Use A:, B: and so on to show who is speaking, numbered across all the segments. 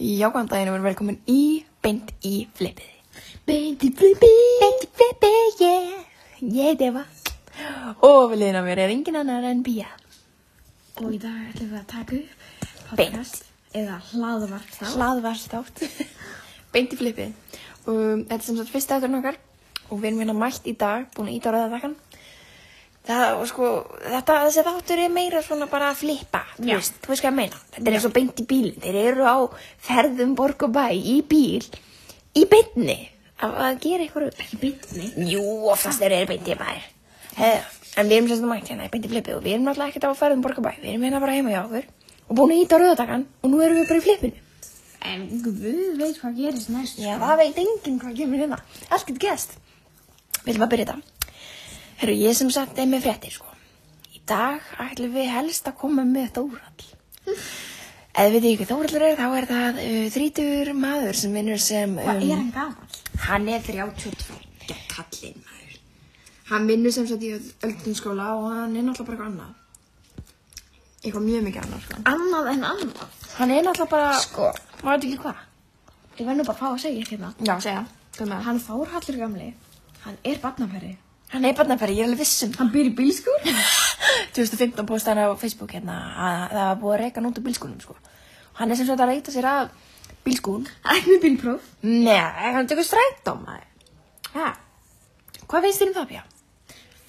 A: Já, góðan daginn og verið velkomin í Beint í flipiði.
B: Beint í flipi
A: Beint í flipiði, yeah. Ég yeah, defa. Og við liðin á mér er engin annar en Bía.
B: Og í dag ætlum við að taka upp
A: Beint.
B: podcast eða hlaðvarp þá
A: Hlaðvarst átt. Beint í flipiði. Um, þetta er sem sagt fyrsta þátturinn okkar og við erum hérna mætt í dag, búin að íta á ræðatakkan. Það, og sko, þetta, þessi þáttur er meira svona bara að flippa, þú
B: Já.
A: veist, þú veist hvað ég meina. Þetta er eins og beint í bílinn, þeir eru á ferðum borg og bæ, í bíl, í beinni, að, að gera eitthvað upp.
B: Ekki beintni
A: Jú, oftast eru þeir beintið bæðir. En við erum sérst að mænt hérna í beintið flipið og við erum náttúrulega ekkert á að fara um borgarbæ. Við erum hérna bara heima hjá okkur og búin að íta á rauðatakan og nú erum við bara í flipinu.
B: En guð veit hvað gerist næst sko.
A: það veit enginn hvað kemur hérna. Allt getur gæst. Við viljum að byrja þetta. Herru, ég sem sagt er með fréttir, sko. Í dag ætlum við helst að koma með Þórall. Ef við þið ekki Þórallur er, þá er það uh, þrítur maður sem vinnur sem... um,
B: Hvað er hann gamall?
A: Hann er 32. Kallinn maður. Hann vinnur sem sagt í öldunskóla og hann er náttúrulega bara eitthvað annað. Eitthvað mjög mikið annað, sko.
B: Annað en annað
A: Hann er náttúrulega bara...
B: Sko.
A: Maður veit ekki hvað.
B: Ég verð nú bara að fá að segja ykkur það
A: Já, segja. Hvað með það?
B: Hann Þórhallur gamli Hann er barnafæri
A: Hann er barnafæri, ég er alveg viss um það.
B: Hann býr í bílskúr
A: 2015 postaði hann á Facebook hérna að það var búið að reyka hann út úr bílskúnum, sko. Hann er sem sagt að reyta sér að bílskún.
B: Ekki með bílpróf
A: Nei, hann tekur strætó, maður. Ja. Hvað finnst þér um það, Björn?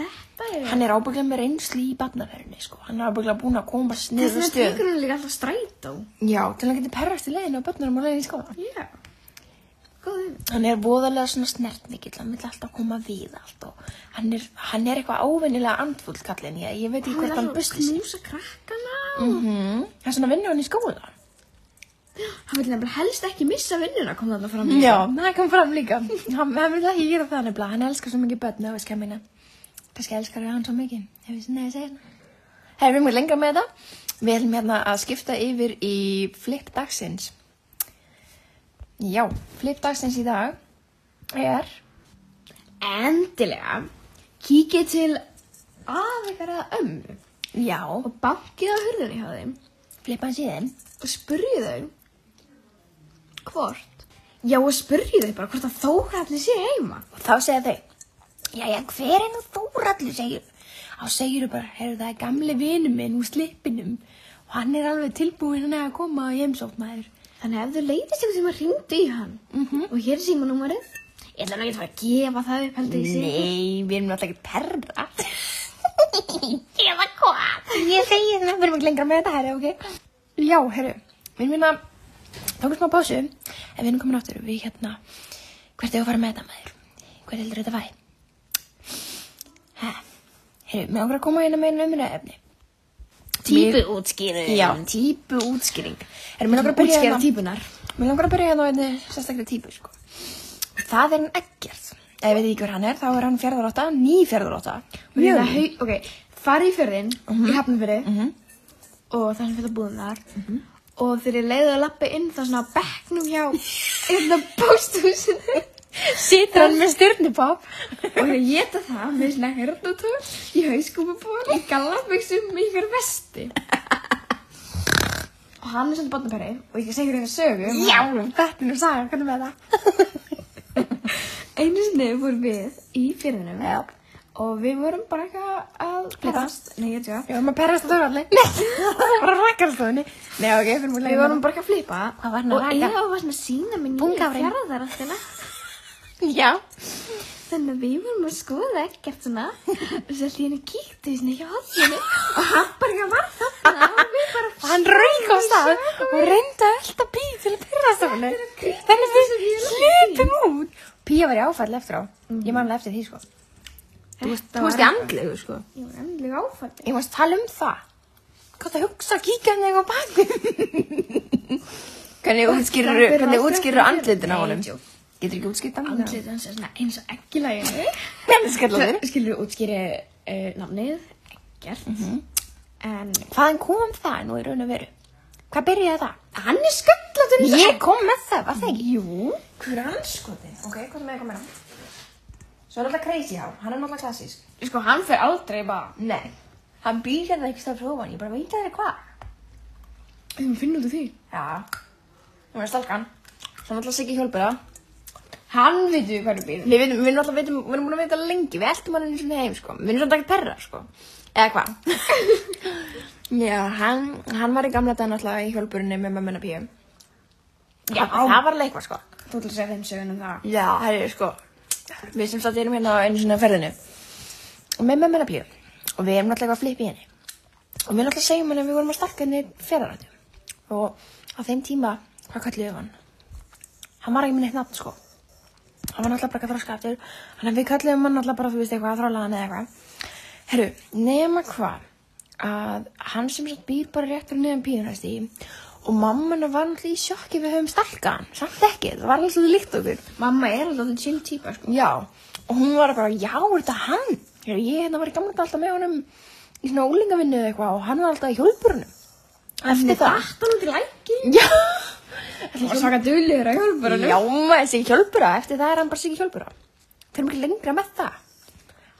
B: Þetta er
A: Hann er ábygglega með reynsli í barnaferðinni, sko. Hann er ábygglega búinn að komast
B: Þess
A: niður á
B: vegna
A: stöð.
B: tekur hann líka alltaf strætó
A: Já, til hann geti perrast í leiðinu og börnunum á leiðinu í skóla.
B: Já Góðum
A: Hann er voðalega svona snertmikill, hann vil alltaf koma við allt og hann er, hann er eitthvað ávennilega andfull kallinn, ég, ég veit ekki hvort hann busti sér.
B: knúsa krakkana
A: Mm Hann svona vinnur hann í skóla.
B: Hann vil nefnilega helst ekki missa vinnuna kom þarna fram í.
A: Já, það kom fram líka. Hann, hann vil ekki gera það nefnilega, hann elskar svo mikið börn, þú veist hvað ég meina. Kannski elskar hann svo mikið, ef ég sinna að segja það. Herra, við erum lengra með það. Við erum hérna að skipta yfir í flip dagsins. Já, flip dagsins í dag er...
B: Endilega kíkið til að ykkar að ömmu
A: Já,
B: og bankið á hurðinni hjá þeim
A: flipa hans í þeim.
B: og spurrið þau hvort Já og spurrið þau bara hvort að þókalli sé heima
A: Og þá segja þau, jæja, hver er nú Þórallu, segir Þá segir þau bara, heyrðu, það er gamli vinur minn úr slipinum og hann er alveg tilbúinn að koma í heimsótt maður.
B: Þannig ef þau leiðist ykkur sem að ringdu í hann
A: Mhm.
B: -hmm. og hér er símanúmerið Ég ætla nú ekki að fara að gefa það upp heldur ég sé
A: Nei, við erum náttúrulega ekki perra.
B: Eða hvað?
A: Ég segi það, við erum ekki lengra með þetta, herri, ok? Já, herri, við erum hérna, tókum smá pásu, en við erum komin áttur, við hérna, hvert er að fara með þetta, maður? Hvert heldur þetta væri? Hæ? Herri, með okkur að koma hérna með einu umræðefni.
B: Típu útskýrið
A: Já, típu útskýring. Herri, með okkur að byrja
B: Útskýra
A: hérna,
B: típunar
A: með okkur að byrja hérna á einni sérstaklega típu, sko. Það er hann ekkert. Ef við veit ekki hver hann er, þá er hann fjörðarótta, ný hérna fjörðarótta.
B: Mjög hei, Ok, farið í fjörðin
A: Mhm.
B: í Hafnarfjörði og það sem fyrir að búðum þar
A: Mhm.
B: og þeir eru leiðið að lappa inn það svona á bekknum hjá inn á pósthúsinu
A: Situr hann með styrnipopp.
B: og
A: hérna-
B: þeir geta það með svona herdatúr í hauskúpuból í gallaböksum með ykkur vesti og hann er svolítið botnabæri og ég skal segja ykkur eina sögu um
A: Já,
B: hann.
A: þetta er nú saga, hvernig með það?
B: einu sinni vorum við í fjörðinum
A: Já.
B: og við vorum bara eitthvað að ferðast nei, ég tjóða
A: Við vorum að perrast að törvalli. Nei, það var að rakast þóni. Nei, ok, fyrir múið
B: Við vorum bara ekki að flipa
A: Hvað var hann að
B: Og
A: raka?
B: Eva var svona að sína mér nýju
A: Búngafrinn.
B: fjaraðaráttina
A: Já.
B: Þannig að við vorum að skoða ekkert svona Og svo allir henni kíkti svona hjá hotninu Og hann bara ekki var þarna Og við bara
A: Og hann rauk á stað og reyndi að elda Pí til að perrast þóni.
B: Þetta er skrítið
A: Þannig að
B: sem ég
A: við
B: er að
A: hlipum út. Pía var í áfall eftir á. Ég man alveg eftir því, sko. Þú varst í andlegu, sko.
B: Ég var andlega áfætti
A: Ég varst að tala um það. Hvað það hugsa að kíkja hann eitthvað baku? hvernig útskýrur,
B: Þetta er
A: hvernig
B: alltaf
A: útskýrur
B: fyrir-
A: andlitin á
B: Nei,
A: honum?
B: djók.
A: Getur ekki útskýrt andlitin?
B: Andlið hans er svona eins og ekkilæginu
A: Hvernig skallar þér?
B: Skilur við útskýri uh, nafnið Ekkert En
A: Hvaðan kom það nú í raun og veru? Hvað byrjaði það?
B: hann er skallatun
A: Ég kom með það, var það ekki?
B: Jú
A: Hver er anskotin? Ok, hvað með eitthvað meira? Svo er alltaf crazy há, hann er náttúrulega klassísk.
B: Sko hann fyrir aldrei bara
A: Nei, hann býr hérna ekki stað frá hann, ég bara veit að það er hvað.
B: Við finnum út af því
A: Já. hún er stalkan sem alltaf Siggi Hjólbera
B: Hann um veitum við hvernig býðum.
A: við veitum, við erum alltaf veitum, við erum búin að veita lengi við eltum hann einu sinni heim sko við erum samt ekki perra sko eða hvað já, hann, hann var í gamla daginn alltaf í Hjólberunni með mömmuna píu
B: Já.
A: það var leikvað sko
B: Þú ætla að segja þeim sögun um það.
A: já, það er sko við sem satt erum hérna á einu sinni á ferðinu með mömmuna píu og við erum alltaf eitthvað að flippa í henni og við erum alltaf að segjum henni að við vorum að stalka henni ferðarættu og á þeim tíma, hvað kalluðu hann? hann var ekki minn eitt nafn sko hann var náttúrulega bara ekki þroska aftur þannig að við kalliðum hann náttúrulega bara þú veist eitthvað þrálaðan eða eitthvað herru, nema hvað að hann sem satt býr bara réttur neðan píðunæsti og mamma hennar var náttúrulega í sjokki við höfum stalkað hann samt ekki, það var alltaf líkt okkur
B: Mamma er alltaf chill típa, sko.
A: já, og hún var bara, já, er þetta hann herru, ég hérna var í gamla daga alltaf með honum í svona úlingavinnu eða eitthvað og hann var alltaf í hjólburunum eftir það
B: Þetta er nú til læki.
A: já,
B: Það var svaka duðlegur að hjálpa bara nú.
A: Já, maður er Siggi Hjálpura, eftir það er hann bara Siggi Hjálpura. Fyrir mig lengra með það.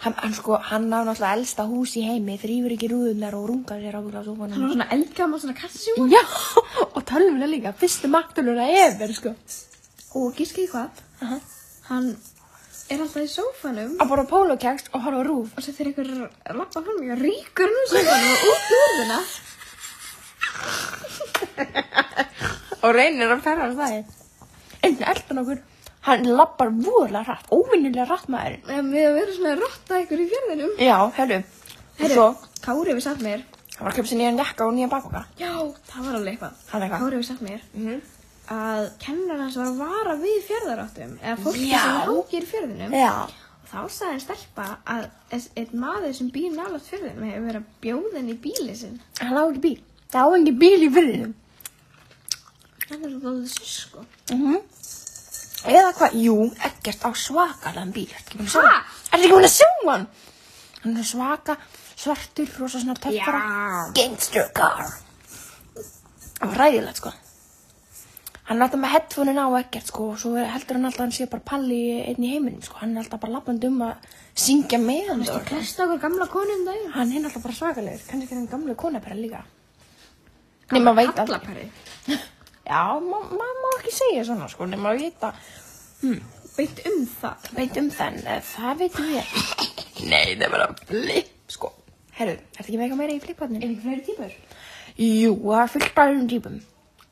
A: Hann, hann sko, hann á náttúrulega elsta hús í heimi, þrýfur ekki rúðunar og rungar sér ábyggilega á
B: Hann
A: sófanum.
B: var svona eldgama, svona kassjú.
A: Já, og tölvuna líka, fyrstu maktuluna efer, sko.
B: Og gískið hvað?
A: Aha.
B: Hann er alltaf í sófanum.
A: Að borða pólokjækst og horfa á rúf.
B: Og svo þegar ykkur lappa fram í og ríkur hann úr sófanum og út úr húðina.
A: Og reynir að ferra á það. En eldan okkur, hann lappar voðalega rætt, óvinnilega rætt maðurinn.
B: En við að vera svona að rotta ykkur í fjörðinum.
A: Já, herru.
B: Herru,
A: Svo,
B: Kári við satt mér.
A: hann var að köpa sér nýjan jakka og nýjan bakoka.
B: Já, það var alveg eitthvað.
A: Það var eitthvað.
B: Kári við satt mér.
A: Mm -hmm.
B: Að kennar hans var að vara við fjörðaráttum. Eða fólki
A: Já.
B: sem hangir í fjörðinum.
A: Já.
B: Og þá sagði hann stelpa að þess- einn maður sem býr nálaft fjörðinum hefur verið að bjóða henni í bíli sinn.
A: Hann á ekki bíl. Það á ekki bíl í fyrrinum.
B: Það er alveg sko.
A: Mm Eða hvað? Jú, ekkert á svakalan bíl. Ertu ekki búin að sjá
B: Ha?
A: hann? Ertu ekki búin að sjá hann? Hann er svaka, svartur, rosa svona töffara.
B: Já.
A: Gangster car. Það var ræðilegt, sko. Hann er alltaf með headphone-in á ekkert, sko. og Svo heldur hann alltaf að hann sé bara palli einn í heiminum, sko. Hann er alltaf bara lappandi um að syngja með hann. sko.
B: Það klesta okkur gamla konum daginn.
A: Hann er alltaf bara svakalegur. Kannski er hann gamlu konapæri líka. Nei, maður veit aldrei.
B: Kallaparið.
A: Já, maður ma má ekki segja svona, sko, nema að vita
B: Beint um það.
A: veit um þenn, eh, það veit ég. Nei, það er bara flip, sko. Herru, ertu ekki með eitthvað meira í flipatnum?
B: ekki fleiri típur?
A: Jú, það er fullt af um típum.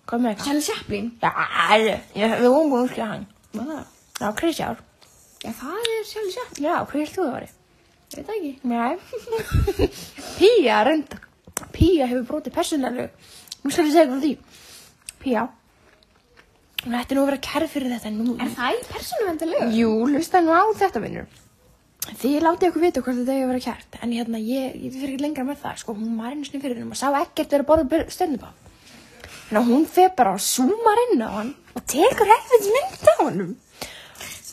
A: Hvað með eitthvað?
B: Charlie Chaplin.
A: Já, herru, ég- við vorum búin að skilja hann.
B: Var það?
A: Já, Kristjár.
B: Já, það er Charlie Chaplin.
A: Já, Kristjár þú ári.
B: Ég veit það ekki.
A: Nei. Pía, reynda. Pía hefur brotið persónalög. Nú skal ég segja eitthvað frá því. Pía, hún ætti nú að vera kærð fyrir þetta nú.
B: Er það í persónuvendalög?
A: Jú, hlusta nú á þetta vinnur. Þið látið okkur vita hvort þetta hefur verið kært, en hérna, ég, ég fyrir ekki lengra með það, sko, hún var einu sinni fyrir hennum og sá ekkert verið að borða stjörnubá. Þannig að hún fer bara og súmar inn á hann og tekur helvits mynd á hannum.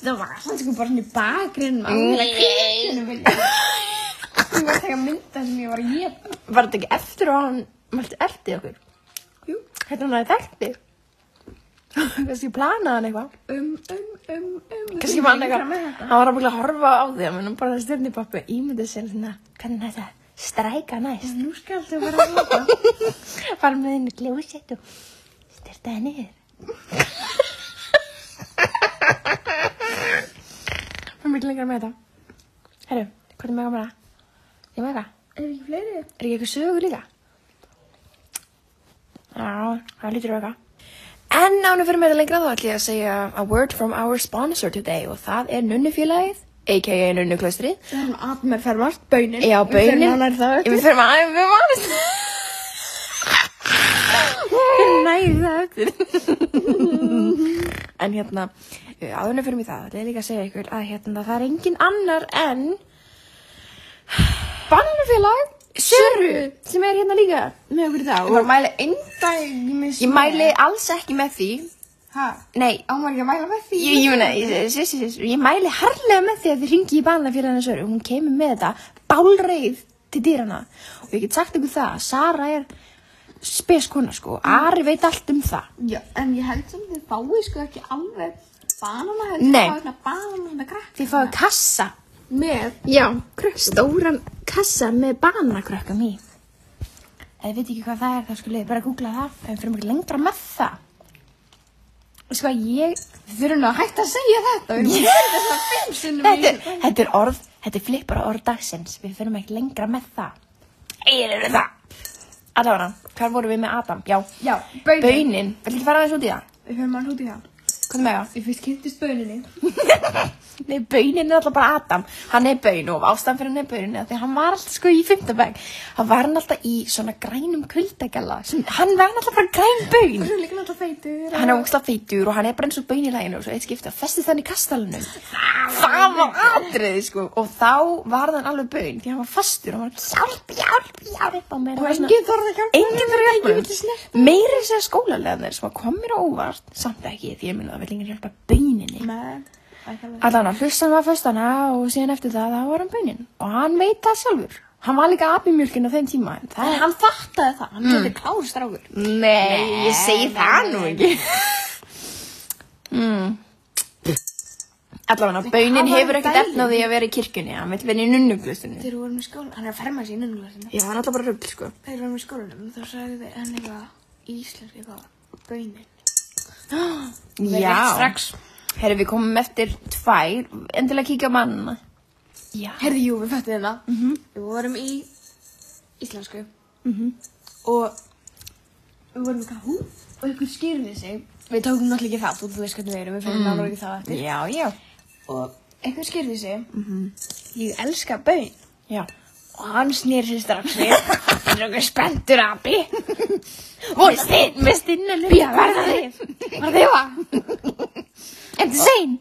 B: Það var svona sko bara svona í bakgrinn og alveg í kyninu vilja. Ég var að taka mynda sem ég var að geta.
A: Var þetta ekki eftir og hann mælti eldið okkur?
B: Jú.
A: Hérna hann hafði þekkt þig. Kannski planaði hann eitthvað.
B: Um, um, um, um.
A: Kannski var hann eitthvað, hann var að búin að horfa á því að hann bara stjörnubappi ímyndið sér svona, hvernig þetta stræka næst.
B: Nú skal þú bara hafa það.
A: Fara með henni gljóðsett og styrta henni niður. Fyrir mikið lengra með þetta. Herru, hvað er með að það? Ég með það.
B: Er ekki fleiri?
A: Er ekki eitthvað sögur líka? Já, það lítur á eitthvað. En ánum fyrir með þetta lengra þá ætlum ég að segja a word from our sponsor today og það er nunnufélagið, a.k.a. nunnuklaustrið.
B: Það er um atmerfermast, baunin.
A: Já, baunin.
B: Fyrir nánar það
A: Ég
B: öllu.
A: fyrir maður, við maður. Næði það eftir. en hérna, áðurinn fyrir mig það, það er líka að segja ykkur að hérna það er engin annar en Bannfélag Sörru sem er hérna líka með okkur í dag.
B: Ég var að mæla eindæmis.
A: Ég mæli alls ekki með því.
B: Hæ?
A: Nei,
B: Ámar ekki að mæla með því?
A: Ég, ég, meina, ég, ég, ég, ég, ég mæli harlega með því að þið ringi í barnafélaginu Söru. Hún kemur með þetta bálreið til dýrana. Og ég get sagt ykkur það að Sara er speskona sko. Ari veit allt um það.
B: Já, en ég held sem þið fáið sko ekki alveg banana, heldur
A: Nei.
B: þið fáið svona banana krakk
A: Þið fáið kassa.
B: með
A: Mm. Já, krökkum. Stóran kassa með banakrökkum í. Ef þið veit ekki hvað það er þá skulle ég bara googla það. En fyrir mjög lengra með það. Sko, ég,
B: Við þurfum nú að hægt að segja þetta, við erum að segja þetta svona fimm sinnum í
A: þetta, er- þetta er orð, þetta er flippara orð dagsins. Við fyrir ekki lengra með það. Eginn eru það. Allavega, hvar vorum við með Adam? Já,
B: Já, baunin.
A: Baunin. Viltu ekki fara aðeins út í það?
B: Við höfum að hluti það.
A: Hvað með það?
B: Ég fyrst kynntist bauninni.
A: Nei, baunin er alltaf bara Adam. Hann er baun og ástæðan fyrir hann er baunin er af því að hann var alltaf sko í fymtabæk. Hann var hann alltaf í svona grænum kvöldagalla. Sem, hann var alltaf bara græn baun.
B: Hún er líka náttúrulega feitur.
A: Hann er ógslag feitur og hann er bara eins og baun í læginu og svo eitt skipti að festi þann í kastalunum. Það var atriði sko og þá var hann alveg baun því hann var fastur og hann var hjálp, hjálp, hjálp og hérna, meira
B: Og enginn þorði að hjálpa.
A: Engin fyrir
B: Enginn
A: hjálpunum.
B: vildi snerta.
A: Meiri sér skólalegarnir sem að kom mér á óvart, samt ekki því ég minna það vil enginn hjálpa bauninni.
B: Nei.
A: Allan að hlustan var fyrst hana og síðan eftir það þá var hann baunin og hann veit það sjálfur. Hann var líka abimjölkin á þeim tíma en það
B: Hann fattaði það, hann getur klár strákur.
A: Nei, ég segi það nú ekki mm. Allavega, baunin
B: Hann var
A: hefur ekkert
B: dælinn.
A: efna því að vera í kirkjunni Hann vil vera í nunnuglustunni
B: Þeir vorum í skólanum, hann er að ferma sér í nunnuglasinu.
A: Já, hann er alltaf bara rugl, sko
B: Þeir vorum í skólanum, þá sagði þeir hann eitthvað í íslensk eitthvað, baunin.
A: Já, herru, við komum eftir tvær Endilega kíkja á mannina Já
B: Herði, jú, við fættum þetta. Við vorum í íslensku og við vorum eitthvað hú og ykkur skýrði sig. Við tókum náttúrulega ekki þátt og þú veist hvernig við erum, við fyrir náttúrulega ekki þátt
A: Mm.
B: eftir.
A: Já, já Mhm.
B: Og ykkur skýrði sig, ég elska baun
A: Já
B: og hann snýr sér strax við. Hann er okkur spenntur api.
A: Mistinn, mistinn
B: Býða, hvað er það þið? Hvað er þið það?
A: En það sein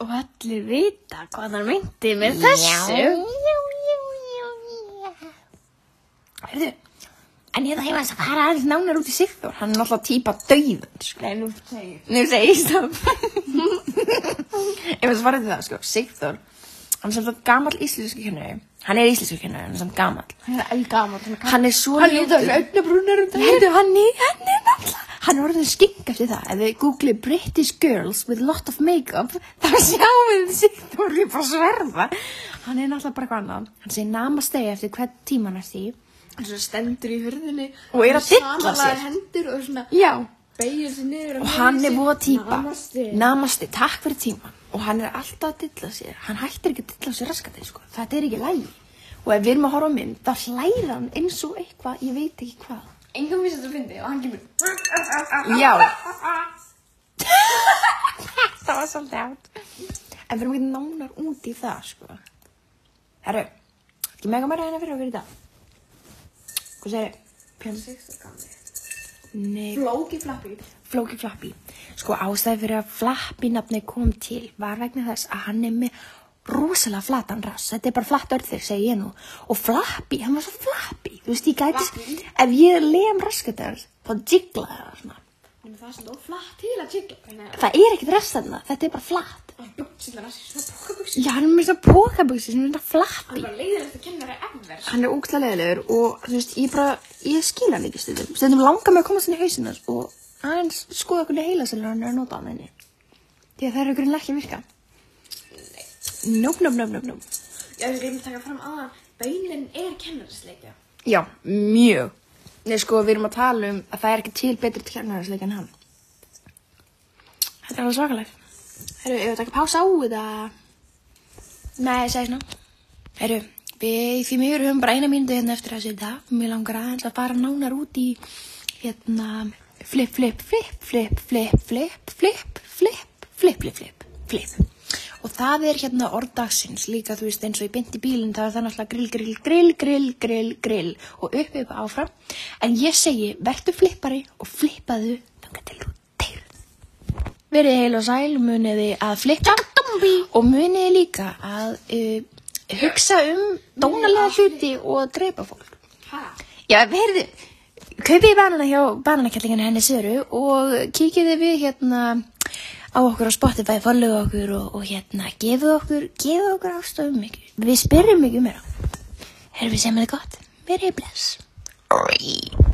B: Og allir vita hvað hann myndi með þessu.
A: Já, já, já, já, já. Hörðu, en hérna ég það heima þess að fara aðeins nánar út í Sigþór. Hann er náttúrulega típa döiðan, sko.
B: Nei, nú segir ég.
A: Nú segist það. Ég veist að fara til það, sko. Sigþór, hann er samt gammal íslensku kennari. Hann er íslensku kennari, hann er samt gammal.
B: Hann er eldgammal. Hann er gamall.
A: Hann er svo
B: Hann lítið þessu augnabrúnar um daginn.
A: Hættu, hann er, hann er náttúrulega, hann er orðin skink eftir það. Ef þið googlið British girls with lot of make-up, þá sjáum við Sigþór ég bara sverða. Hann er náttúrulega bara eitthvað annað. Hann segir namaste eftir hvern tíman eftir því.
B: hann svona stendur í hurðinni
A: Og er að dilla
B: samanlagðar
A: sér.
B: hendur og svona
A: Já.
B: beigir sér niður
A: Og hann er búið að týpa.
B: namaste
A: Namaste, takk fyrir tíman. Og hann er alltaf að dilla sér. Hann hættir ekki að dilla sér raskatið, sko. Þetta er ekki lægi. Og ef við erum að horfa á mynd, þá hlæðir hann eins og eitthvað, ég veit ekki hvað.
B: engum vissi þetta fyndi og hann kemur
A: Já Það var svolítið átt En við erum ekki nánar út í það sko Herru Ekki mega mæra henni fyrir okkur í dag Hvað segir Pjans Nei
B: flóki flappi
A: Flóki Flappi Sko ástæði fyrir að Flappi nafni kom til var vegna þess að hann er með rosalega flatan rass Þetta er bara flatt orð þegar segi ég nú Og Flappi, hann var svo Flappi Þú veist, ég gæti
B: Flappy.
A: Ef ég lem raskat hans þá jiggla það svona
B: nema það er svona flatt til að tjekka þannig
A: Það er ekkert rest þarna, þetta er bara flatt.
B: að bjóksilla rassi svona bókabjóksilla
A: Já, hann er með svona pókabuxi sem er þetta
B: hann
A: flatti.
B: er bara leiðilegt að kennara ever
A: Hann er ógstlega leðilegur og þú veist, ég bara, ég skil hann ekki stundum. Stundum langar mig að komast inn í hausinn hans og aðeins skoða hvernig heilaselur hann er að nota á henni. Því að það eru grunlega ekki að virka. Nope, nope, nope, nope, nope.
B: ég er reynd að taka fram aðan beinin er kennarasleikja
A: Já, mjög. Nei, sko, við erum að tala um að það er ekki til betri kjarnararsleik en hann. Þetta er alveg svakaleg. Herru, ef við taka pása á þetta... Nei, segi svona. Herru, við því miður höfum bara eina mínútu hérna eftir að segja það. Mér langar aðeins að fara nánar út í hérna flip, flip, flip, flip, flip, flip, flip, flip, flip, flip, flip, flip. Og það er hérna orðdagsins líka, þú veist, eins og ég byndi bílinn, það er það náttúrulega grill, grill, grill, grill, grill, grill og upp, upp, áfram. En ég segi, vertu flippari og flippaðu þangað til þú deyr. Verið heil og sæl, muniði að flippa og muniði líka að uh, hugsa um dónalega hluti og dreipa fólk.
B: ha
A: Já, verðu, kaupiði banana hjá bananakellinginu henni Söru og kíkiði við hérna á okkur á Spotify, follow okkur og, og hérna, gefið okkur, gefið okkur ástofum ykkur. Við spyrjum ykkur meira. Herfið sem er gott, verið bless. Oi.